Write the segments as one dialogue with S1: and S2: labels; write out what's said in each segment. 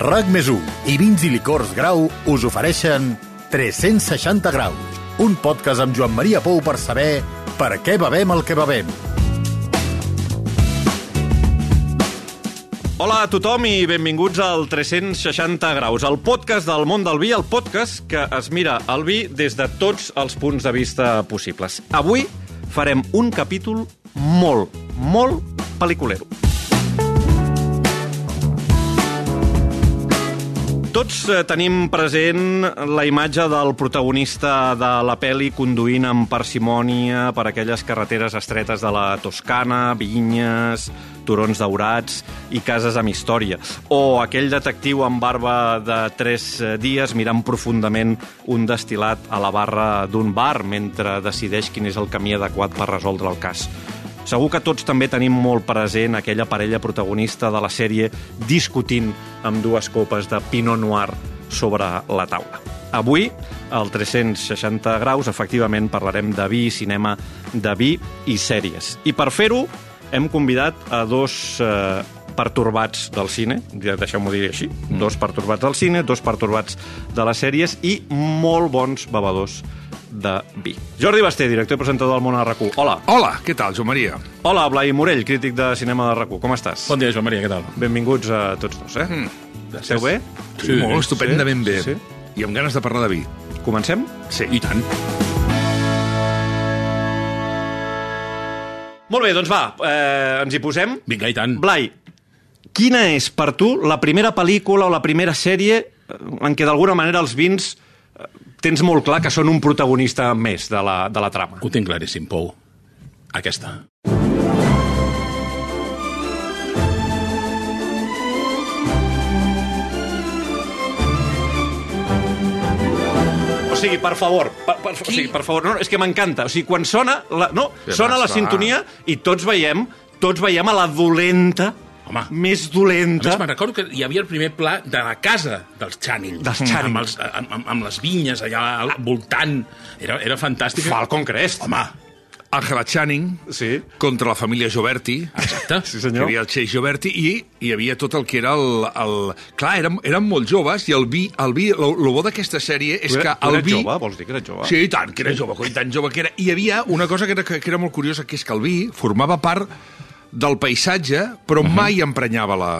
S1: RAC més 1 i Vins i Licors Grau us ofereixen 360 graus, un podcast amb Joan Maria Pou per saber per què bevem el que bevem.
S2: Hola a tothom i benvinguts al 360 graus, el podcast del món del vi, el podcast que es mira el vi des de tots els punts de vista possibles. Avui farem un capítol molt, molt pel·liculero. Tots eh, tenim present la imatge del protagonista de la pel·li conduint amb parsimònia per aquelles carreteres estretes de la Toscana, vinyes, turons daurats i cases amb història. O aquell detectiu amb barba de tres eh, dies mirant profundament un destil·lat a la barra d'un bar mentre decideix quin és el camí adequat per resoldre el cas. Segur que tots també tenim molt present aquella parella protagonista de la sèrie discutint amb dues copes de Pinot Noir sobre la taula. Avui, al 360 graus, efectivament parlarem de vi i cinema, de vi i sèries. I per fer-ho, hem convidat a dos eh, pertorbats del cine, ja deixeu-m'ho dir així, dos pertorbats del cine, dos pertorbats de les sèries i molt bons bebedors de vi. Jordi Basté, director i presentador del món a RAC1. Hola.
S3: Hola, què tal, Joan Maria?
S2: Hola, Blai Morell, crític de cinema de RAC1. Com estàs?
S4: Bon dia, Joan Maria, què tal?
S2: Benvinguts a tots dos, eh? Mm. Esteu bé?
S3: Sí, Molt estupendament
S2: sí,
S3: bé.
S2: sí.
S3: I amb ganes de parlar de vi.
S2: Comencem?
S3: Sí.
S4: I tant.
S2: Molt bé, doncs va, eh, ens hi posem.
S4: Vinga, i tant.
S2: Blai, quina és per tu la primera pel·lícula o la primera sèrie eh, en què d'alguna manera els vins eh, tens molt clar que són un protagonista més de la, de la trama?
S4: Ho tinc claríssim, Pou. Aquesta.
S2: O sigui, per favor, per, per, o sigui, per favor, no, no, és que m'encanta. O sigui, quan sona la, no,
S3: Què
S2: sona
S3: passa?
S2: la sintonia i tots veiem, tots veiem a la dolenta,
S4: Home.
S2: més
S4: A més,
S2: dolenta.
S4: me'n recordo que hi havia el primer pla de la casa dels Channing.
S2: Dels Channing.
S4: Amb, els, amb, amb, amb les vinyes allà al voltant. Era, era fantàstic.
S2: Falcon Crest.
S4: Home,
S3: Angela Channing
S2: Sí.
S3: contra la família Gioberti.
S4: exacte.
S2: Sí,
S3: Hi
S2: senyor.
S3: havia el Chase Gioberti i hi havia tot el que era el... el... Clar, érem, érem molt joves i el vi... El vi, lo, lo bo d'aquesta sèrie és
S2: Tu,
S3: que
S2: era- tu
S3: el
S2: eres
S3: vi...
S2: jove, vols dir que eres jove?
S3: Sí, i tant, que era jove, coi, tan jove que era. I hi havia una cosa que era, que, que era molt curiosa, que és que el vi formava part del paisatge, però mai emprenyava la...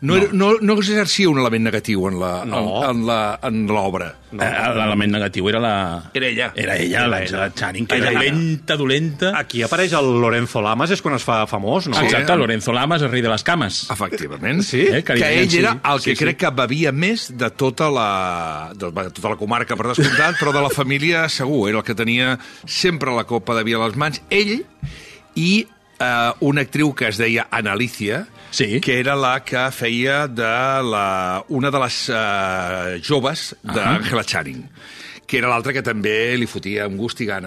S3: No, era, no, no exercia un element negatiu en la-
S4: No.
S3: en- en la- en l'obra.
S4: No, eh, L'element negatiu era la...
S3: Era ella.
S4: Era ella, l'Àngela Channing, que era
S2: Era ella.
S4: dolenta, dolenta.
S2: Aquí apareix el Lorenzo Lamas, és quan es fa famós, no?
S3: Sí.
S4: Exacte, Lorenzo Lamas, el rei de les cames.
S3: Efectivament.
S2: Sí?
S4: Eh, que
S3: que
S4: li deien,
S3: ell
S4: sí.
S3: era el que
S4: Sí, sí.
S3: crec que bevia més de tota la, de, de tota la comarca, per descomptat, però de la família segur. Era el que tenia sempre la copa de vi a les mans. Ell i eh, una actriu que es deia Analicia,
S4: Sí.
S3: que era la que feia de la, una de les eh, joves d'Angela Channing que era l'altra que també li fotia amb gust i gana.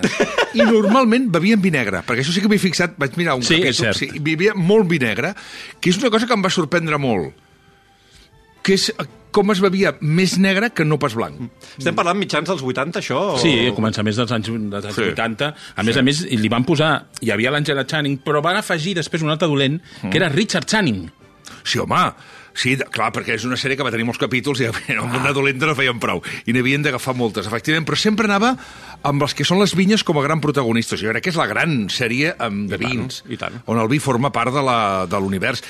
S3: I normalment bevien vi negre, perquè això sí que m'he fixat, vaig mirar un
S4: Sí, és
S3: capítol,
S4: cert.
S3: sí, vivia molt vi negre, que és una cosa que em va sorprendre molt, que és eh, com es bevia més negre que no pas blanc.
S2: Estem parlant mitjans dels 80, això? o-
S4: Sí, a començaments dels anys, dels anys
S3: Sí.
S4: sí. 80. A més a més, li van posar... Hi havia l'Àngela Channing, però van afegir després un altre dolent, que era Richard Channing.
S3: Sí, home, sí, de- clar, perquè és una sèrie que va tenir molts capítols i bueno, amb
S2: Ah.
S3: una dolenta no feien prou, i n'havien d'agafar moltes, efectivament, però sempre anava amb els que són les vinyes com a gran protagonistes. Jo crec que és la gran sèrie amb, de
S2: tant,
S3: vins,
S2: i tant.
S3: on el vi forma part de la- de l'univers.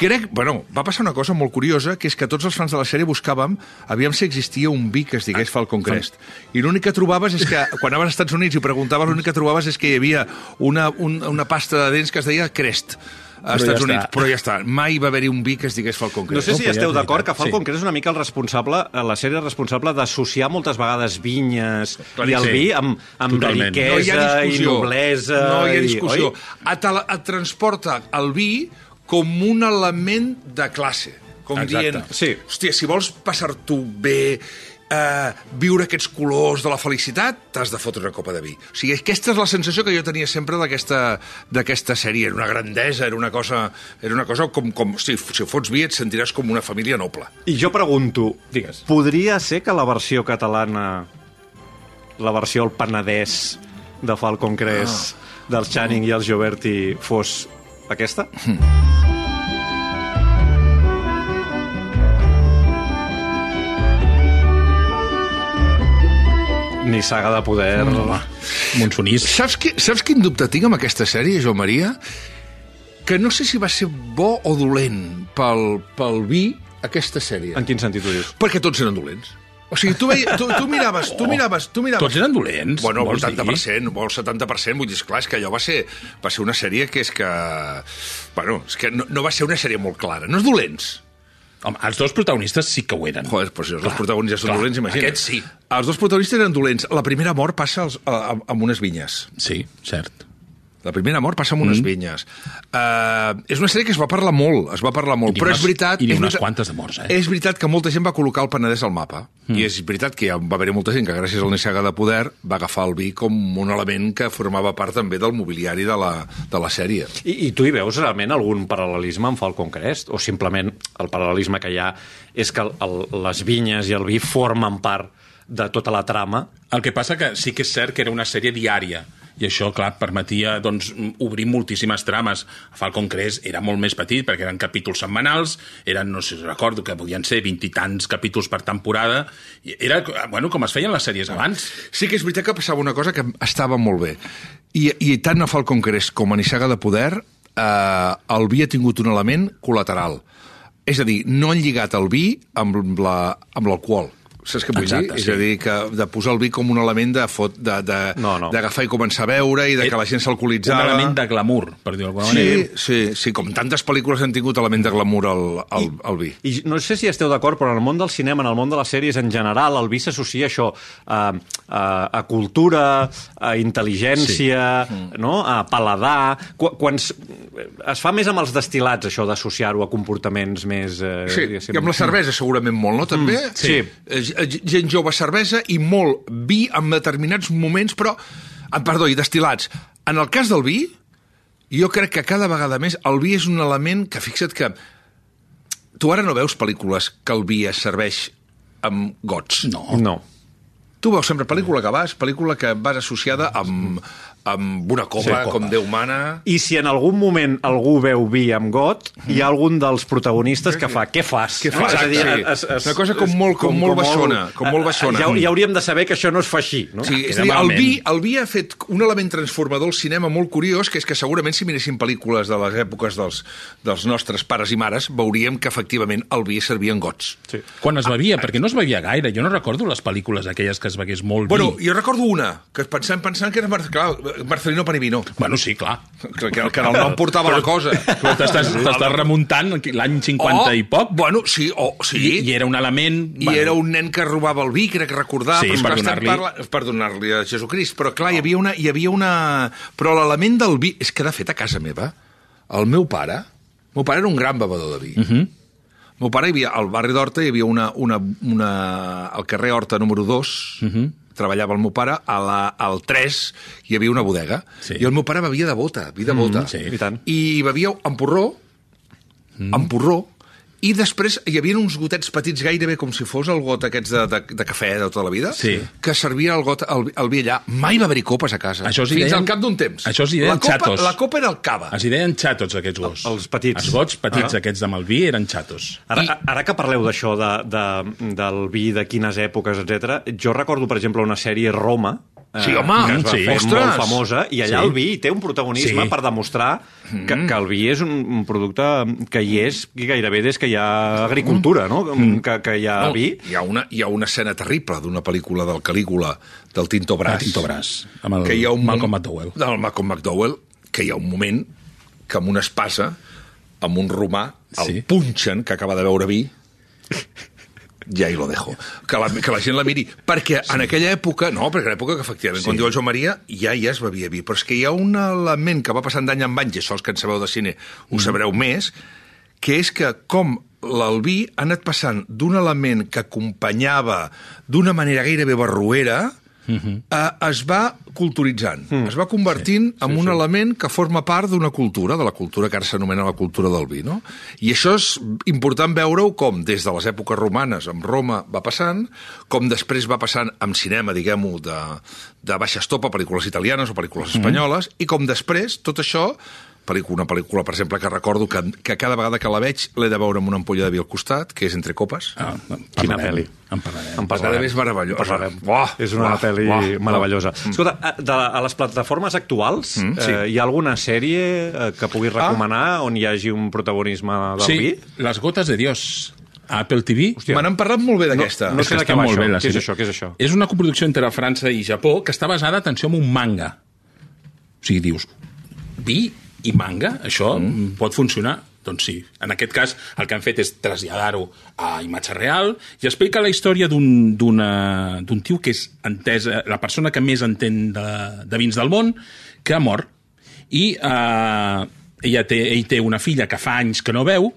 S3: Crec, bueno, va passar una cosa molt curiosa, que és que tots els fans de la sèrie buscàvem, aviam si existia un vi que es digués Falcon Crest. I l'únic que trobaves és que, quan anaves als Estats Units i ho preguntaves, l'únic que trobaves és que hi havia una, un, una pasta de dents que es deia Crest, als
S4: Però ja
S3: Estats
S4: està.
S3: Units. Però ja està, mai va haver-hi un vi que es digués Falcon
S2: No
S3: Crest.
S2: sé si
S4: No, però ja
S2: esteu
S4: és
S2: d'acord que
S4: veritat,
S2: Falcon
S4: sí.
S2: Crest és una mica el responsable, eh, la sèrie responsable d'associar moltes vegades vinyes i el
S4: sí.
S2: vi amb, amb
S4: Totalment.
S2: riquesa i noblesa.
S3: No hi ha
S2: i-
S3: discussió.
S2: oi?
S3: Et, et transporta el vi com un element de classe. Com
S4: Exacte.
S3: dient,
S2: Sí.
S3: hòstia, si vols passar-t'ho bé, eh, viure aquests colors de la felicitat, t'has de fotre una copa de vi. O sigui, aquesta és la sensació que jo tenia sempre d'aquesta d'aquesta sèrie. Era una grandesa, era una cosa, era una cosa com, com si, si fots vi et sentiràs com una família noble.
S2: I jo pregunto,
S4: Digues.
S2: podria ser que la versió catalana, la versió al Penedès de Falcon Crest, dels Channing i els Gioberti, fos aquesta? nissaga de poder... Mm.
S4: Monsonís.
S3: Saps, qui, saps quin dubte tinc amb aquesta sèrie, Joan Maria? Que no sé si va ser bo o dolent pel, pel vi aquesta sèrie.
S2: En quin sentit ho dius?
S3: Perquè tots eren dolents. O sigui, tu, veia, tu, tu miraves, tu miraves, tu miraves...
S4: Oh, Tots eren dolents,
S3: Bueno, el
S4: vols dir?
S3: 80%, o el 70%, vull dir, esclar, és que allò va ser, va ser una sèrie que és que... Bueno, és que no, no va ser una sèrie molt clara. No és dolents.
S4: Home, els dos protagonistes sí que ho eren.
S3: Joder, però si els dos
S4: Clar,
S3: protagonistes són
S4: clar,
S3: dolents, imagina't.
S4: Aquests sí.
S3: Els dos protagonistes eren dolents. La primera mort passa als, a, a, amb unes vinyes.
S4: Sí, cert.
S3: La primera mort passa amb unes mm. vinyes. Uh, és una sèrie que es va parlar molt, es va parlar molt,
S4: I n'hi
S3: però
S4: ha
S3: és
S4: unes-
S3: veritat...
S4: i n'hi ha
S3: és
S4: unes
S3: veritat-
S4: quantes de morts, eh?
S3: És veritat que molta gent va col·locar el Penedès al mapa, mm. i és veritat que hi ha- va haver molta gent que gràcies al Nissaga de Poder va agafar el vi com un element que formava part també del mobiliari de la, de la sèrie.
S2: I, I tu hi veus realment algun paral·lelisme amb Falcon Crest? O simplement el paral·lelisme que hi ha és que el, el, les vinyes i el vi formen part de tota la trama?
S4: El que passa que sí que és cert que era una sèrie diària, i això, clar, permetia doncs, m- obrir moltíssimes trames. Falcon Crest era molt més petit, perquè eren capítols setmanals, eren, no sé si recordo, que podien ser vint i tants capítols per temporada, i era, bueno, com es feien les
S3: Ah.
S4: sèries abans.
S3: Sí que és veritat que passava una cosa que estava molt bé. I, i tant a Falcon Crest com a Nissaga de Poder, eh, el vi ha tingut un element col·lateral. És a dir, no han lligat el vi amb la- amb l'alcohol. Saps què vull
S4: Exacte,
S3: dir? És
S4: sí.
S3: a dir, que de posar el vi com un element de fot, de, de,
S2: No, no.
S3: d'agafar i començar a beure i de que la gent
S4: Un
S3: s'alcoholitzava.
S4: element de glamour, per dir-ho d'alguna manera.
S3: Sí, sí, sí, com tantes pel·lícules han tingut element de glamour al, al, al vi.
S2: I no sé si esteu d'acord, però en el món del cinema, en el món de les sèries en general, el vi s'associa a això, a, a, a cultura, a intel·ligència, sí. no? a paladar... Quan, quan es, es fa més amb els destilats, això d'associar-ho a comportaments més... Eh,
S3: Sí,
S2: diguéssim.
S3: i amb la cervesa segurament molt, no? També? Mm,
S2: sí.
S3: Gent jove cervesa i molt vi en determinats moments, però... ah, Perdó, i destilats. En el cas del vi, jo crec que cada vegada més el vi és un element que, fixa't que... Tu ara no veus pel·lícules que el vi es serveix amb gots.
S4: No.
S2: No.
S3: Tu veus sempre pel·lícula que vas, pel·lícula que vas associada amb, amb una copa,
S4: Sí,
S3: sí,
S4: copa.
S3: com Déu mana...
S2: I si en algun moment algú veu vi amb got, hi ha algun dels protagonistes que fa, què fas?
S3: Què fas?
S2: És a dir,
S3: Sí. Una cosa com molt- com molt baixona, com molt baixona.
S2: Ja, ja hauríem de saber que això no es fa així, no?
S3: Sí, és
S4: queda
S3: a dir, el
S4: malament.
S3: vi, el vi ha fet un element transformador al cinema molt curiós, que és que segurament si miréssim pel·lícules de les èpoques dels, dels nostres pares i mares, veuríem que efectivament el vi servia en gots.
S2: Sí.
S4: Quan
S3: Ah,
S4: es bevia, perquè no es bevia gaire. Jo no recordo les pel·lícules aquelles que es begués molt
S3: Bueno,
S4: vi.
S3: jo recordo una, que pensant, pensant que era Mar clar, Marcelino Panivino.
S4: Bueno, sí, clar.
S3: Que, que, que el nom portava la cosa.
S4: Però t'estàs t'estàs remuntant l'any 50
S3: Oh!
S4: i poc,
S3: Bueno, sí, o
S4: i,
S3: sí.
S4: i era un element...
S3: I bueno. era un nen que robava el vi, crec recordar,
S4: Sí,
S3: però és
S4: per
S3: que estem
S4: donar-li-
S3: parla- per donar-li a Jesucrist. Però clar, hi havia una... Hi havia una... Però l'element del vi... És que, de fet, a casa meva, el meu pare... El meu pare era un gran bevedor de vi. Uh
S4: Mhm.
S3: -huh. El meu pare hi havia... Al barri d'Horta hi havia una, una, una... Al carrer Horta número 2... Uh -huh
S4: Mhm.
S3: treballava el meu pare, a la, al 3 hi havia una bodega,
S4: Sí.
S3: sí. i el meu pare bevia de bota, vi de bota. Mm,
S4: sí.
S2: I tant.
S3: I bevia amb porró, mm. amb porró, i després hi havia uns gotets petits gairebé com si fos el got aquests de, de, de cafè de tota la vida,
S4: Sí.
S3: que servia el, got, el, el vi allà. Mai va haver-hi copes a casa.
S4: Això es
S3: Fins
S4: deien-
S3: al cap d'un temps.
S4: això eh? es deien
S3: la copa,
S4: xatos.
S3: La copa era el cava.
S4: Es deien xatos, aquests gos.
S2: Els petits.
S4: Els gots petits,
S2: Ah.
S4: aquests de Malví, eren xatos.
S2: Ara,
S3: I-
S2: ara que parleu d'això, de, de, del vi, de quines èpoques, etc, jo recordo, per exemple, una sèrie Roma, eh,
S3: Sí, home,
S2: que es va
S4: sí.
S2: fer
S3: Ostres!
S2: molt famosa, i allà sí.
S4: Sí.
S2: el vi té un protagonisme
S4: Sí.
S2: sí. per demostrar que,
S3: Mm.
S2: que el vi és un, un producte que hi és gairebé des que hi ha agricultura, no? Que, que hi ha
S3: Mm. No,
S2: no. vi.
S3: Hi ha, una, hi ha una escena terrible d'una pel·lícula del Calígula, del Tinto Brass.
S4: El Tinto Brass, amb el Malcolm McDowell.
S3: Del Malcolm McDowell, que hi ha un moment que amb una espasa, amb un romà, el
S4: Sí.
S3: sí. punxen, que acaba de beure vi, ja hi lo dejo. Que la, que la gent la miri. Perquè sí. en aquella època, no, perquè en l'època que efectivament, sí. quan diu el Joan Maria, ja ja es bevia vi. Però és que hi ha un element que va passant d'any en any, i això els que en sabeu de cine ho
S4: Mm.
S3: sabreu més, que és que com l'albí ha anat passant d'un element que acompanyava d'una manera gairebé barruera, Uh -huh. es va culturitzant, mm. es va convertint sí, en un element que forma part d'una cultura, de la cultura que ara s'anomena la cultura del vi, no? I això és important veure-ho com des de les èpoques romanes amb Roma va passant, com després va passant amb cinema, diguem-ho, de, Mhm. de baixa estopa, pel·lícules italianes o pel·lícules espanyoles, mm. i com després tot això pel·lícula, una pel·lícula, per exemple, que recordo que, que cada vegada que la veig l'he de veure amb una ampolla de vi al costat, que és Entre Copes.
S4: Ah, en
S2: Quina
S4: parlarem,
S2: pel·li.
S4: En parlarem.
S2: En
S3: parlarem. És meravellosa.
S2: En parlarem.
S3: Buah,
S2: és una
S3: buah,
S2: pel·li
S3: buah, buah.
S2: meravellosa. Escolta, a, de, a les plataformes actuals mm, sí. eh, hi ha alguna sèrie eh, que puguis recomanar ah. on hi hagi un protagonisme del
S4: Sí,
S2: vi?
S4: Les gotes de Dios. A Apple TV.
S2: Hòstia.
S3: Me n'han parlat molt bé d'aquesta.
S2: no
S4: És
S2: sé de
S4: que
S2: què
S4: està
S2: va
S4: molt
S2: això.
S4: bé, la
S2: Què és
S4: sèrie.
S2: això, què és això?
S4: És una coproducció entre França i Japó que està basada, atenció, en un manga. O sigui, dius, vi i manga, això mm. pot funcionar? Doncs sí. En aquest cas, el que han fet és traslladar-ho a imatge real i explica la història d'un d'una- d'un tio que és entesa, la persona que més entén de, de vins del món, que ha mort. I eh, ella té, ell té una filla que fa anys que no veu,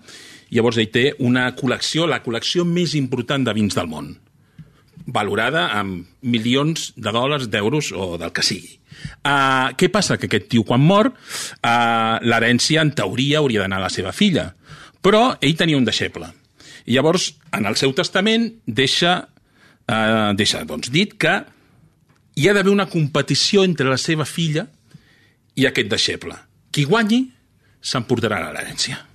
S4: llavors ell té una col·lecció, la col·lecció més important de vins del món valorada amb milions de dòlars, d'euros o del que sigui. Uh, què passa? Que aquest tio, quan mor, uh, l'herència, en teoria, hauria d'anar a la seva filla. Però ell tenia un deixeble. I llavors, en el seu testament, deixa, uh, deixa doncs, dit que hi ha d'haver una competició entre la seva filla i aquest deixeble. Qui guanyi s'emportarà l'herència.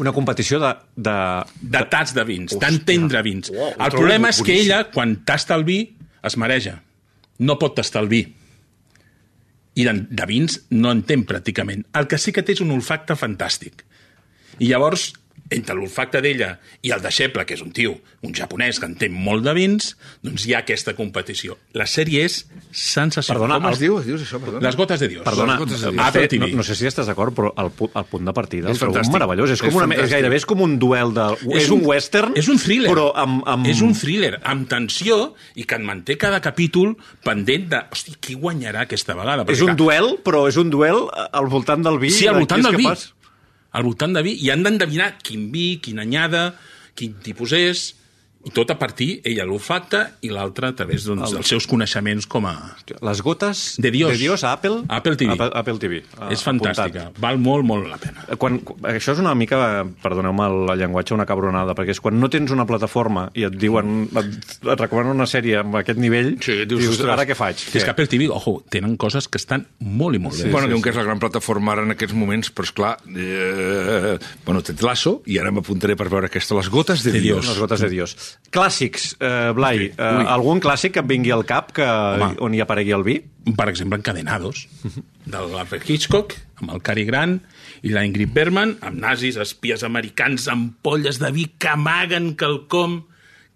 S2: Una competició de... de...
S4: De tats de vins, d'entendre vins.
S2: Uau, ho
S4: el
S2: trobo
S4: problema és que
S2: boníssim.
S4: ella, quan tasta el vi, es mareja. No pot tastar el vi. I de, de vins no entén pràcticament. El que sí que té és un olfacte fantàstic. I llavors, entre l'olfacte d'ella i el deixeble, que és un tio, un japonès que entén molt de vins, doncs hi ha aquesta competició. La sèrie és sensacional.
S2: Perdona,
S3: Com
S2: el-
S3: es diu? Es diu això, perdona.
S4: Les gotes de Dios.
S2: Perdona,
S3: Les gotes de
S4: Dios.
S2: Apple
S4: Apple
S2: no,
S4: TV.
S2: no sé si estàs d'acord, però el, pu- el punt de partida
S3: És
S2: el trobo
S3: fantàstic.
S2: meravellós. És,
S3: És
S2: com una, és
S3: fantàstic.
S2: gairebé és com un duel de... És, un, western,
S4: És un thriller.
S2: però amb... amb...
S4: És un thriller amb tensió i que et manté cada capítol pendent de... Hosti, qui guanyarà aquesta vegada?
S2: és un duel, però és un duel eh, al voltant del vi.
S4: Sí, al
S2: de
S4: voltant
S2: qui és
S4: del vi.
S2: capaç.
S4: Al voltant de vi. I han d'endevinar quin vi, quina anyada, quin tipus és... I tot a partir, ella l'olfacte i l'altra a través doncs, dels seus coneixements com a...
S2: Les gotes
S4: De Dios.
S2: de Dios a Apple?
S4: A Apple TV.
S2: Apple, Apple TV. Ah,
S4: és fantàstica.
S2: apuntat.
S4: Val molt, molt la pena.
S2: Quan, això és una mica, perdoneu-me el llenguatge, una cabronada, perquè és quan no tens una plataforma i et diuen, et, et recomanen una sèrie amb aquest nivell,
S3: Sí, dius, ostres,
S2: ara què faig?
S4: És que Apple TV, ojo, tenen coses que estan molt i molt
S3: Sí,
S4: bé.
S3: bueno, sí, que és la gran plataforma ara en aquests moments, però esclar, eh, bueno, Ted Lasso, i ara m'apuntaré per veure aquesta, Les gotes de
S4: Té
S3: Dios.
S4: Dios.
S2: Les gotes de Dios. Clàssics, eh, Blai, eh, algun clàssic que et vingui al cap que,
S4: Home.
S2: on hi aparegui el vi?
S4: per exemple, Encadenados, de l'Alfred Hitchcock, amb el Cary Grant i la Ingrid Bergman, amb nazis, espies americans, amb polles de vi que amaguen quelcom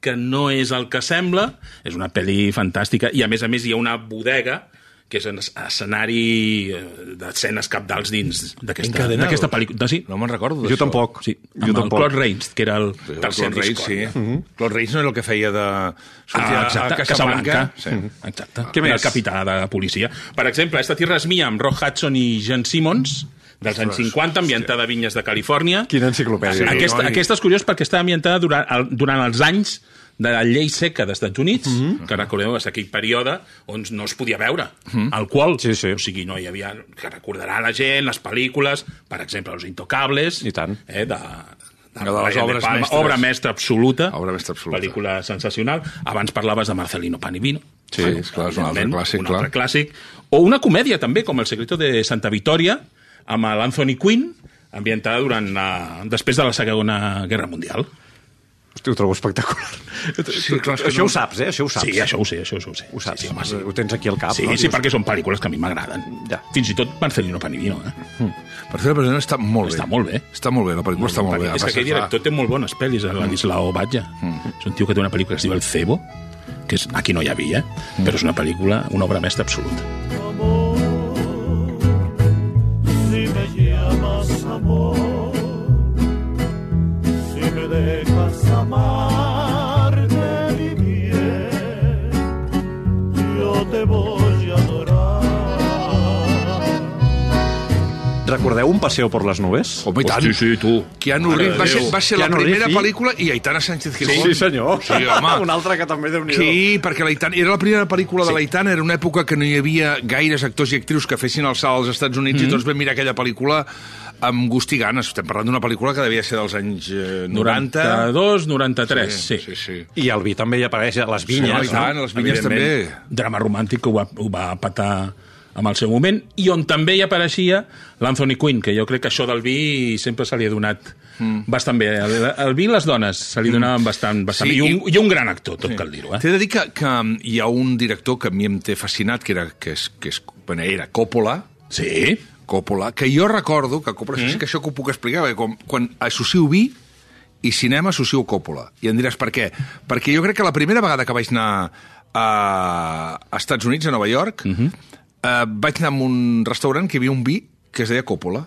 S4: que no és el que sembla. És una pel·li fantàstica. I, a més a més, hi ha una bodega que és un es- escenari eh, d'escenes capdals dins d'aquesta
S3: Encadenados?
S4: d'aquesta pel·lícula. Sí,
S3: No me'n recordo d'això.
S2: Jo tampoc.
S4: sí,
S2: jo
S4: amb el
S2: tampoc.
S4: Claude Rains, que era el
S3: Sí,
S4: tercer
S3: Claude Reis,
S4: disc. eh?
S3: sí. Claude Reis no era el que feia de... Sortia
S4: Ah, exacte,
S3: a
S4: Casablanca. Mhm.
S3: Casablanca. Sí.
S4: Exacte.
S2: Què
S4: Què més?
S2: més?
S4: El capità de la policia. Per exemple, Esta tierra és mia, amb Rob Hudson i Jen Simmons, dels anys 50, ambientada a vinyes de Califòrnia.
S2: Quina enciclopèdia.
S3: Sí.
S4: Aquesta,
S3: noi.
S4: aquesta és curiosa perquè està ambientada durant, el, durant els anys de la llei seca dels Estats Units,
S2: Mhm.
S4: que recordeu, és aquell període on no es podia veure alcohol.
S2: Mhm. Sí, sí.
S4: O sigui, no hi havia... Que recordarà la gent, les pel·lícules, per exemple, Los Intocables...
S2: I tant.
S4: Eh, de,
S3: Una de les
S4: Brian
S3: obres
S4: Palma,
S3: mestres.
S4: Obra mestra absoluta.
S3: Obra mestra absoluta.
S4: Pel·lícula sensacional. Abans parlaves de Marcelino Panivino.
S3: Sí, esclar, és un altre
S4: Evidentment,
S3: clàssic,
S4: un
S3: clar.
S4: altre clàssic. O una comèdia, també, com El secreto de Santa Vitòria, amb l'Anthony Quinn, ambientada durant la... després de la Segona Guerra Mundial.
S2: Hosti, ho trobo espectacular.
S3: Sí, clar, és que
S2: això
S3: no-
S2: ho saps, eh? Això ho saps.
S4: Sí, això ho sé, això, això ho sé.
S2: Ho saps.
S4: Sí, sí, home, sí.
S2: Ho tens aquí al cap.
S4: Sí,
S2: no?
S4: sí, perquè són pel·lícules que a mi m'agraden.
S2: Ja.
S4: Fins i tot Marcelino Panivino, eh?
S3: Per fer la presentació està molt bé.
S4: Està molt bé.
S3: Està molt bé, la pel·lícula està molt bé. Mm.
S4: és que aquell director té molt bones pel·lis, el Ladislao Batja. És un tio que té una pel·lícula que es diu El Cebo, que és, aquí no hi havia, eh?
S3: Mm.
S4: però és una pel·lícula, una obra mestra absoluta.
S5: amor, si me llamas amor, si me dejas amarte mi bien, yo te voy a adorar.
S2: Recordeu un passeu per les nubes?
S3: Home, i tant.
S4: sí, tu.
S3: Keanu Reeves va ser, va ser la
S2: Keanu
S3: primera
S2: Reeves, sí.
S3: pel·lícula i Aitana Sánchez Gijón. Sí,
S2: un
S3: home.
S2: altre que també déu nhi
S3: Sí, perquè l'Aitana... Era la primera pel·lícula sí. de l'Aitana, era una època que no hi havia gaires actors i actrius que fessin el salt als Estats Units mm. i tots vam mirar aquella pel·lícula amb gust i ganes. Estem parlant d'una pel·lícula que devia ser dels anys eh, 90.
S4: 92, 93, sí.
S3: sí, sí.
S2: I el vi també hi apareix a les
S3: Home,
S2: vinyes,
S3: i tant,
S2: no?
S3: les vinyes també.
S4: Drama romàntic que ho va, ho va patar amb el seu moment, i on també hi apareixia l'Anthony Quinn, que jo crec que això del vi sempre se li ha donat mm. bastant bé. El, el vi i les dones se li donaven bastant, bastant
S3: Mm. Sí,
S4: sí, bé. I un,
S3: i-
S4: i un gran actor, tot sí. cal dir-ho. Eh?
S3: T'he de dir que, que hi ha un director que a mi em té fascinat, que era, que és, que és, bueno, era Coppola,
S4: Sí.
S3: Coppola, que jo recordo que Coppola, mm. sí que això que ho puc explicar, perquè quan, quan associo vi i cinema associo Coppola. I em diràs per què. Perquè jo crec que la primera vegada que vaig anar a, a Estats Units, a Nova York, mm -hmm. eh, vaig anar a un restaurant que hi havia un vi que es deia Coppola.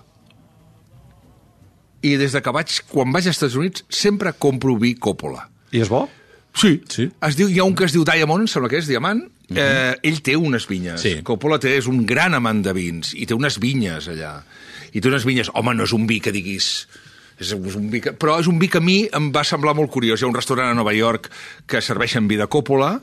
S3: I des de que vaig, quan vaig als Estats Units, sempre compro vi Coppola.
S2: I és bo?
S3: Sí.
S4: Sí.
S3: Es diu, hi ha un que es diu Diamond, em sembla que és Diamant. Mm -hmm. eh, ell té unes vinyes.
S4: Mhm. Sí.
S3: Coppola té, és un gran amant de vins i té unes vinyes allà. I té unes vinyes... Home, no és un vi que diguis... És un- és un vi que... Però és un vi que a mi em va semblar molt curiós. Hi ha un restaurant a Nova York que serveixen vi de Coppola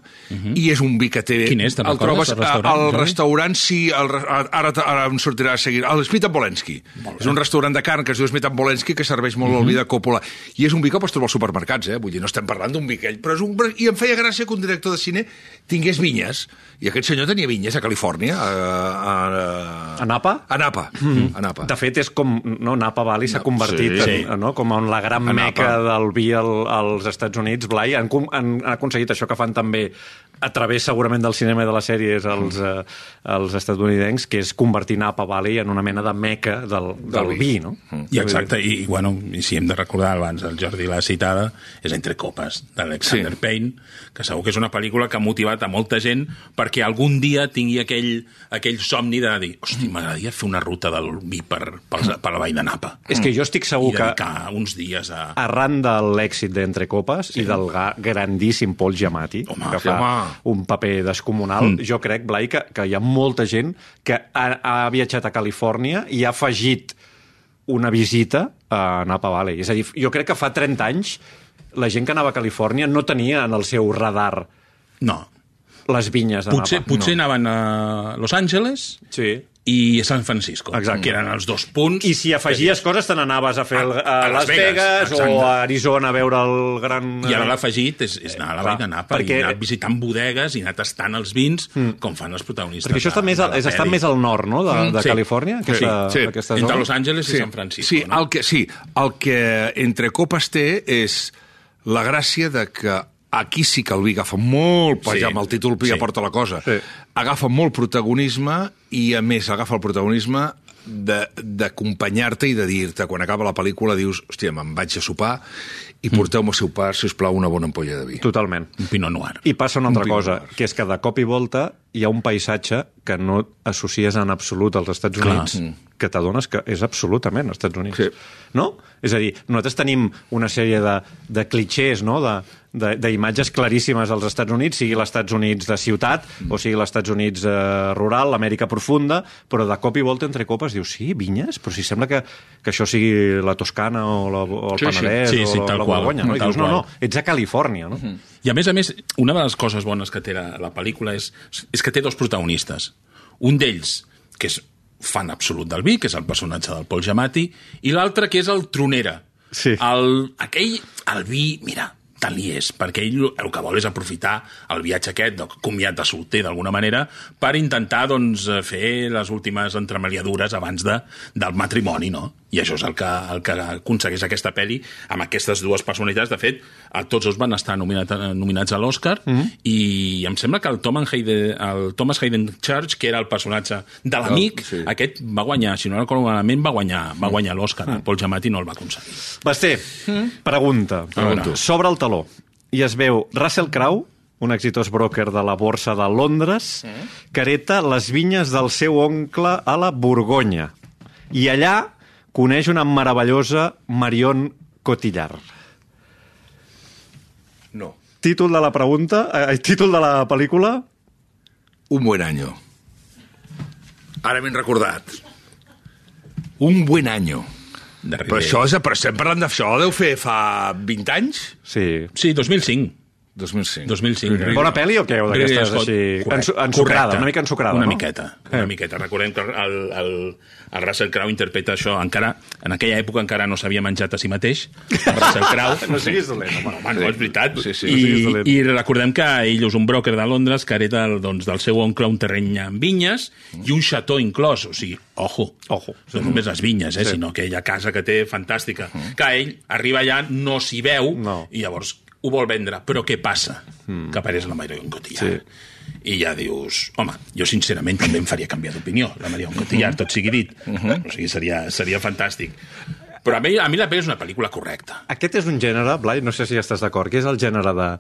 S3: i és un vi que té...
S4: Mhm. Quin és? Te'n
S3: el
S4: recordes,
S3: trobes
S4: el
S3: al
S4: restaurant,
S3: restaurant?
S4: Jordi?
S3: Al restaurant, sí... El, re- ara, ara em sortirà a seguir. El Smith Bolenski. És un restaurant de carn que es diu Smith Bolenski que serveix molt
S2: Mhm.
S3: el vi de Coppola. I és un vi que pots trobar als supermercats, eh? Vull dir, no estem parlant d'un vi que ell... Però és un... I em feia gràcia que un director de cine tingués vinyes. I aquest senyor tenia vinyes a Califòrnia, a... A,
S2: A Napa? Mhm.
S3: A Napa. Mm. A Napa.
S2: De fet, és com... No, Napa Valley s'ha convertit
S3: sí.
S2: sí. en, no, com en la gran
S3: En
S2: meca
S3: Napa.
S2: del vi al, als Estats Units. Blai, han, com- han, han aconseguit això que fan també a través segurament del cinema i de les sèries els,
S3: Mm.
S2: eh, els estatunidencs, que és convertir Napa Valley en una mena de meca del, del
S3: vi. Mm.
S2: vi, no?
S4: I exacte, i, i, bueno, i si hem de recordar abans, el Jordi l'ha citada, és Entre Copes, d'Alexander
S3: Sí.
S4: sí. Payne, que segur que és una pel·lícula que ha motivat a molta gent perquè algun dia tingui aquell, aquell somni de dir, hosti, m'agradaria fer una ruta del vi per, per, per la vall de Napa.
S2: És que jo estic
S4: I
S2: segur que
S4: dedicar uns dies a...
S2: arran de l'èxit d'Entre Copes sí. i del ga- grandíssim Paul Giamatti,
S4: Home,
S2: que
S4: sí,
S2: fa
S3: home.
S2: un paper descomunal, mm. jo crec, Blai, que, que hi ha molta gent que ha, ha viatjat a Califòrnia i ha afegit una visita a Napa Valley. És a dir, jo crec que fa 30 anys la gent que anava a Califòrnia no tenia en el seu radar
S4: No,
S2: les vinyes de
S4: potser,
S2: Napa.
S4: potser no. anaven a Los Angeles
S2: Sí.
S4: i a San Francisco,
S2: Exacte.
S4: que eren els dos punts.
S2: I si afegies coses, te n'anaves a fer el, a, a Las Vegas, Vegas o
S4: exacte.
S2: a Arizona a veure el gran...
S4: I ara l'ha afegit és, és anar a la
S2: Eh. Clar,
S4: Vall de Napa perquè...
S2: perquè-
S4: i anar visitant bodegues i anar tastant els vins mm. com fan els protagonistes.
S2: Perquè això està més, al, és, està més al nord, no?, de, de
S4: Mm, sí.
S2: Califòrnia, aquesta,
S3: Sí, sí.
S4: a...
S2: aquesta
S4: Entre
S2: zona.
S4: Los Angeles sí. i San Francisco.
S3: Sí,
S4: no?
S3: el que, sí, el que entre copes té és la gràcia de que aquí sí que el vi agafa molt pes,
S4: Sí,
S3: sí, amb el títol Pia
S4: sí.
S3: sí. porta la cosa,
S2: Sí.
S3: sí. agafa molt protagonisme i, a més, agafa el protagonisme de- d'acompanyar-te i de dir-te, quan acaba la pel·lícula, dius, hòstia, me'n vaig a sopar i porteu-me al seu pa, si us plau, una bona ampolla de vi.
S2: Totalment.
S4: Mm. Un Pinot Noir.
S2: I passa una altra
S3: Un
S2: cosa, que és que de cop i volta hi ha un paisatge que no associes en absolut als Estats
S4: Clar. Mm.
S2: Units, que t'adones que és absolutament als Estats Units.
S3: Sí.
S2: No? És a dir, nosaltres tenim una sèrie de, de clichés, no?, de de- d'imatges claríssimes als Estats Units, sigui els Estats Units de ciutat
S4: Mm.
S2: o sigui els Estats Units eh, rural, l'Amèrica profunda, però de cop i volta entre copes dius, sí, vinyes? Però si sembla que, que això sigui la Toscana o, la, o el
S3: Sí, sí.
S2: Penedès
S4: Sí, sí,
S2: o la,
S4: tal
S2: la
S4: qual,
S2: Borgonya, no? I
S4: tal
S2: dius, no, no,
S4: qual. Mm-hmm.
S2: ets a Califòrnia, no?
S4: I a més a més, una de les coses bones que té la, la pel·lícula és, és que té dos protagonistes. Un d'ells, que és fan absolut del vi, que és el personatge del Paul Giamatti, i l'altre que és el tronera.
S2: Sí.
S4: El, aquell, el vi, mira, tant li és, perquè ell el que vol és aprofitar el viatge aquest, de comiat de solter d'alguna manera, per intentar doncs, fer les últimes entremaliadures abans de, del matrimoni, no? I això és el que, el que aconsegueix aquesta pel·li amb aquestes dues personalitats. De fet, a tots dos van estar nominat, eh, nominats a l'Oscar mm -hmm. i em sembla que el, Tom Hayden, el Thomas Hayden Church, que era el personatge de l'amic,
S3: sí.
S4: sí. aquest va guanyar, si no recordo malament, va guanyar, va guanyar l'Oscar. Mm. Paul Giamatti no el va aconseguir.
S2: Basté,
S4: Hmm?
S2: pregunta.
S4: Pregunto.
S2: Sobre el taló. I es veu Russell Crowe, un exitós broker de la borsa de Londres, que hereta les vinyes del seu oncle a la Borgonya. I allà coneix una meravellosa Marion Cotillard.
S3: No.
S2: Títol de la pregunta, eh, títol de la pel·lícula,
S3: Un buen año. Ara ben recordat. Un buen año.
S4: De
S3: Però
S4: Ribera.
S3: això, és, però estem parlant d'això, deu fer fa 20 anys?
S2: sí,
S4: Sí, 2005.
S3: 2005.
S4: 2005.
S3: Grigori.
S2: Bona pel·li o què? O
S4: Ridley
S2: d'aquestes
S4: Scott.
S2: així...
S4: Correcte.
S2: ensu- Ensucrada,
S4: Correcte.
S2: una mica ensucrada,
S4: una
S2: no? Eh.
S4: Miqueta, una miqueta. Recordem que el, el, el Russell Crowe interpreta això. Encara, en aquella època encara no s'havia menjat a si mateix. El Russell Crowe.
S2: No siguis dolent, home.
S4: Home, no, és veritat.
S3: Sí, sí,
S4: I,
S3: no siguis dolent.
S4: I recordem que ell és un broker de Londres que hereta el, doncs, del seu oncle un terreny amb vinyes i un xató inclòs. O sigui, ojo.
S2: Ojo.
S4: No només les vinyes, eh, sinó aquella casa que té fantàstica. Que ell arriba allà, no s'hi veu,
S2: No. Hmm.
S4: i llavors ho vol vendre. Però què passa? Que apareix la Marion Cotillard. I ja dius, home, jo sincerament també em faria canviar d'opinió, la Marion
S2: Hmm.
S4: Cotillard, tot sigui dit.
S2: Uh-huh.
S4: O sigui, seria, seria fantàstic. Però a mi, a mi la pel·li és una pel·lícula correcta.
S2: Aquest és un gènere, Blai, no sé si estàs d'acord, que és el gènere de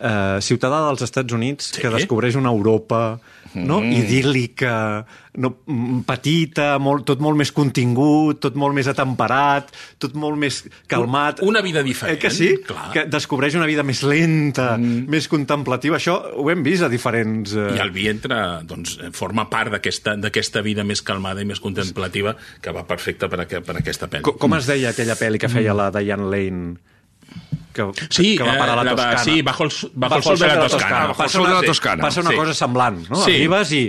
S2: eh, ciutadà dels Estats Units sí. que descobreix una Europa no?
S4: Mm.
S2: idíl·lica, no, mm, petita, molt, tot molt més contingut, tot molt més atemperat, tot molt més calmat.
S4: Una vida diferent,
S2: Eh que sí?
S4: clar.
S2: Que descobreix una vida més lenta, mm. més contemplativa. Això ho hem vist a diferents... Eh...
S4: I el vientre doncs, forma part d'aquesta d'aquesta vida més calmada i més contemplativa que va perfecta per, a, per a aquesta pel·li.
S2: Com, com es deia aquella pel·li que feia la Diane Lane? Que,
S4: Mm. Sí,
S2: que va parar a
S4: eh,
S2: la
S4: la va-
S2: Toscana.
S4: sí, bajo el su- bajo el sol de la Toscana.
S3: Bajo el
S2: Passa
S3: sol de
S2: una,
S3: la Toscana,
S2: passa una
S4: sí.
S2: cosa semblant, no?
S4: Sí.
S2: Arribes i...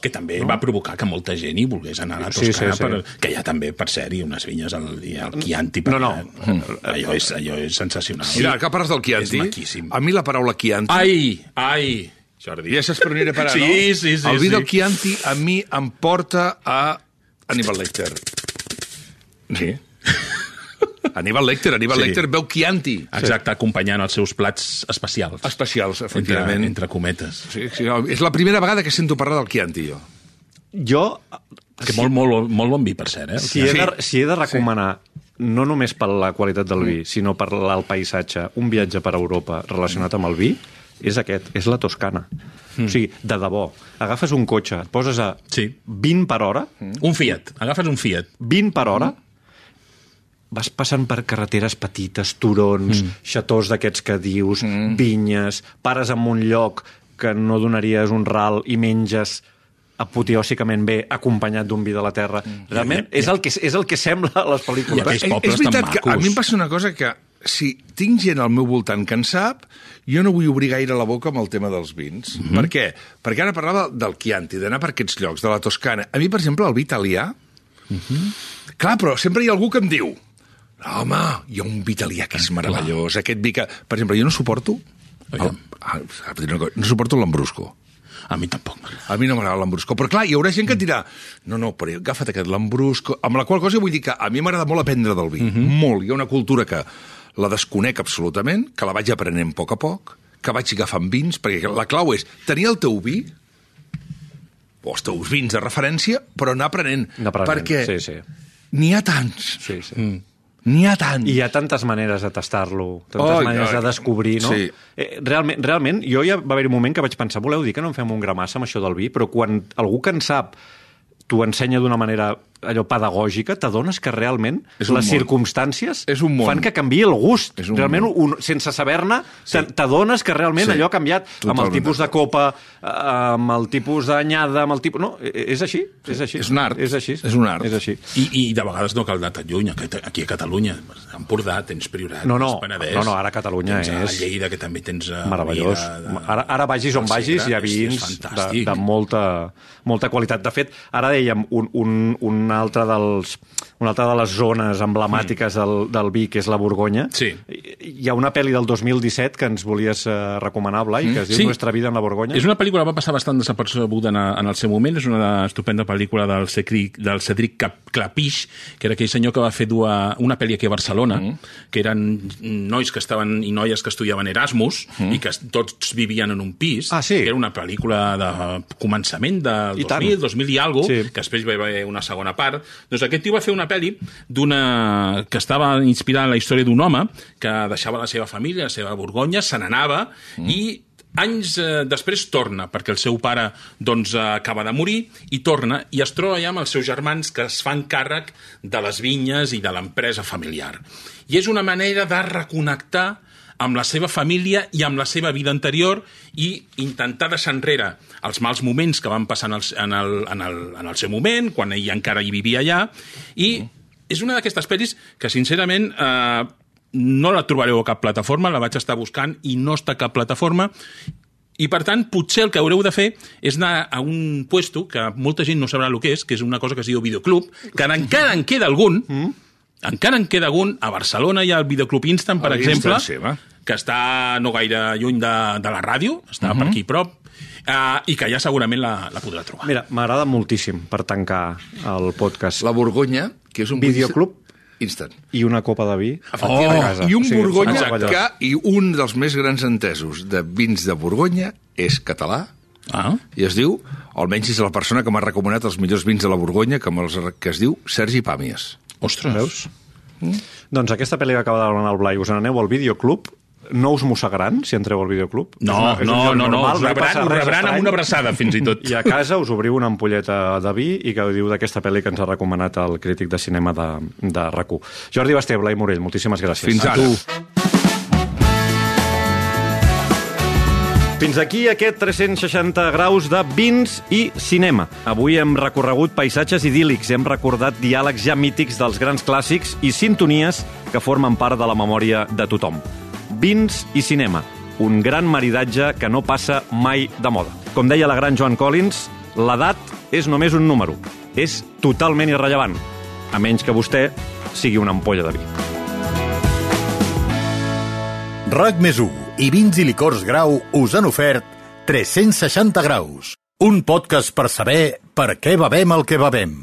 S4: que també no? va provocar que molta gent hi volgués anar a la
S2: Sí, sí,
S4: Toscana, sí,
S2: sí.
S4: sí, Per, que hi ha també, per cert, i unes vinyes al, i al Chianti. Per,
S2: No, no.
S4: Allò és, allò és sensacional.
S3: Mm. Mira, que parles del
S4: És
S3: Chianti,
S4: maquíssim.
S3: a mi la paraula Chianti...
S4: Ai, ai, Jordi.
S3: Ja saps per on aniré a parar,
S4: Sí,
S3: no?
S4: sí, sí,
S3: El vi
S4: sí.
S3: del Chianti a mi em porta a Aníbal Lecter. Sí. Aníbal Lecter, Aníbal
S4: Sí.
S3: sí. Lecter veu Chianti.
S4: Exacte, acompanyant els seus plats especials.
S3: Especials,
S4: Entre,
S3: efectivament.
S4: entre cometes.
S3: Sí, sí, no, és la primera vegada que sento parlar del Chianti, jo.
S2: Jo,
S4: Que molt, molt, molt bon vi, per cert, eh?
S2: si he de, si he de recomanar, no només per la qualitat del
S4: Mm.
S2: vi, sinó per la- el paisatge, un viatge per Europa relacionat amb el vi, és aquest, és la Toscana. O sigui, de debò, agafes un cotxe, et poses a
S4: Mm. Sí.
S2: 20 per hora,
S3: eh.
S4: Un Fiat, agafes un Fiat.
S2: 20 per hora, vas passant per carreteres petites, turons, mm. xatós d'aquests que dius, mm. vinyes, pares en un lloc que no donaries un ral i menges apoteòsicament bé, acompanyat d'un vi de la terra. Mm. Realment, és el, que, és el que sembla a les pel·lícules.
S4: I aquells
S3: És-
S4: pobles
S3: és veritat
S4: tan
S3: que a
S4: macos.
S3: mi em passa una cosa que si tinc gent al meu voltant que en sap, jo no vull obrir gaire la boca amb el tema dels vins.
S4: Mhm.
S3: Mm -hmm. Per què? Perquè ara parlava del Chianti, d'anar per aquests llocs, de la Toscana. A mi, per exemple, el vi italià... Mm
S4: Mhm.
S3: -hmm. Clar, però sempre hi ha algú que em diu "No, home, hi ha un vi italià que és meravellós, aquest vi que... Per exemple, jo no suporto... El,
S4: Aviam.
S3: el, el, no suporto l'ambrusco.
S4: A mi tampoc m'agrada.
S3: A mi no m'agrada l'embrusco. Però clar, hi haurà gent que et dirà no, no, però agafa't aquest l'embrusco... Amb la qual cosa vull dir que a mi m'agrada molt aprendre del vi.
S2: Mhm.
S3: Molt. Hi ha una cultura que la desconec absolutament, que la vaig aprenent a poc a poc, que vaig agafant vins, perquè la clau és tenir el teu vi o els teus vins de referència, però anar aprenent.
S2: Anar aprenent,
S3: perquè
S2: sí, sí.
S3: n'hi ha tants.
S2: Sí, sí. Mm.
S3: N'hi ha tants.
S2: I hi ha tantes maneres de tastar-lo, tantes
S3: Ai,
S2: oh, maneres
S3: ai.
S2: de descobrir, no?
S3: Sí.
S2: Eh, realment, realment, jo ja va haver un moment que vaig pensar, voleu dir que no en fem un gramassa amb això del vi? Però quan algú que en sap t'ho ensenya d'una manera allò pedagògica, t'adones que realment
S3: És
S2: les
S3: un món.
S2: circumstàncies
S3: És un món.
S2: fan que canvi el gust.
S3: És un
S2: realment,
S3: món.
S2: un, sense saber-ne, sí. t'adones que realment
S3: Sí.
S2: sí. allò ha canviat amb
S3: Totalment
S2: el tipus de copa, eh, amb el tipus d'anyada, amb el tipus... No, eh, és així, és així.
S3: És un art.
S2: És així.
S3: És un art.
S2: És així.
S4: I, I de vegades no cal anar tan lluny, aquest- aquí a Catalunya. A Empordà tens Priorat,
S2: No, no.
S4: tens Penedès.
S2: No, no, ara Catalunya
S4: tens
S2: és-
S4: A Lleida, que també tens... eh,
S2: Ah, Meravellós.
S4: vida de-
S2: Ara, ara vagis on
S4: del
S2: vagis,
S4: Segre,
S2: hi ha
S4: és- és
S2: vins de,
S4: fantàstic.
S2: de molta, molta qualitat. De fet, ara dèiem, un, un, un altre dels, una altra de les zones emblemàtiques del, del vi, que és la Borgonya.
S4: Mm. Sí.
S2: Hi ha una pel·li del 2017 que ens volies eh, recomanar, Blai, que es diu
S4: Mm. Sí.
S2: Nuestra vida en la Borgonya.
S4: És una pel·lícula que va passar bastant desapercebuda en, en el seu moment, és una estupenda pel·lícula del Cedric, del Cedric Cap, Clapix, que era aquell senyor que va fer dua, una pel·li aquí a Barcelona, mm. que eren nois que estaven i noies que estudiaven Erasmus mm. i que es- tots vivien en un pis.
S2: Ah, sí?
S4: Que era una pel·lícula de començament del
S2: I tant.
S4: 2000, 2000 i algo,
S2: Sí.
S4: sí. que després va haver una segona part. Doncs aquest tio va fer una pel·li d'una... que estava inspirada en la història d'un home que deixava la seva família, la seva Borgonya, se n'anava mm. i anys eh, després torna, perquè el seu pare doncs, eh, acaba de morir, i torna, i es troba ja amb els seus germans que es fan càrrec de les vinyes i de l'empresa familiar. I és una manera de reconnectar amb la seva família i amb la seva vida anterior i intentar deixar enrere els mals moments que van passar en el, en el, en el, en el seu moment, quan ell encara hi vivia allà, i és una d'aquestes pel·lis que, sincerament, eh, no la trobareu a cap plataforma, la vaig estar buscant i no està a cap plataforma, i, per tant, potser el que haureu de fer és anar a un puesto que molta gent no sabrà el que és, que és una cosa que es diu videoclub, que encara en queda algun,
S2: Mm.
S4: encara en queda algun, a Barcelona hi ha el videoclub Instant, per
S3: El
S4: exemple,
S3: Instant, sí, va.
S4: que està no gaire lluny de, de la ràdio, està
S2: Mm-hmm.
S4: per aquí prop, uh, i que ja segurament la, la podrà trobar.
S2: Mira, m'agrada moltíssim per tancar el podcast.
S6: La Borgonya, que és un...
S2: Videoclub?
S6: Instant.
S2: I una copa de vi
S4: Oh,
S6: Oh,
S2: a casa.
S3: I un
S2: O sigui,
S3: Borgonya
S2: faig allò.
S3: que...
S6: I un dels més grans entesos de vins de Borgonya és català
S4: Ah.
S6: i es diu, almenys és la persona que m'ha recomanat els millors vins de la Borgonya, que, me'ls- que es diu Sergi Pàmies.
S4: Ostres. Veus?
S2: Doncs aquesta pel·li que acaba de demanar el Blai, us n'aneu al videoclub, no us mossegaran si entreu al videoclub?
S4: No,
S2: És una- és un
S4: no,
S2: lloc
S4: no, no,
S2: normal,
S4: us
S2: no hi
S4: rebran,
S2: passa
S4: us
S2: res
S4: rebran
S2: estrany.
S4: amb una abraçada, fins i tot.
S2: I a casa us obriu una ampolleta de vi i gaudiu d'aquesta pel·li que ens ha recomanat el crític de cinema de, de RAC1. Jordi Basté, Blai Morell, moltíssimes gràcies.
S3: Fins
S2: A
S3: ara.
S2: tu. Fins aquí aquest 360 graus de vins i cinema. Avui hem recorregut paisatges idíl·lics, hem recordat diàlegs ja mítics dels grans clàssics i sintonies que formen part de la memòria de tothom. Vins i cinema, un gran maridatge que no passa mai de moda. Com deia la gran Joan Collins, l'edat és només un número. És totalment irrellevant, a menys que vostè sigui una ampolla de vi.
S1: RAC més 1 i Vins i Licors Grau us han ofert 360 graus. Un podcast per saber per què bevem el que bevem.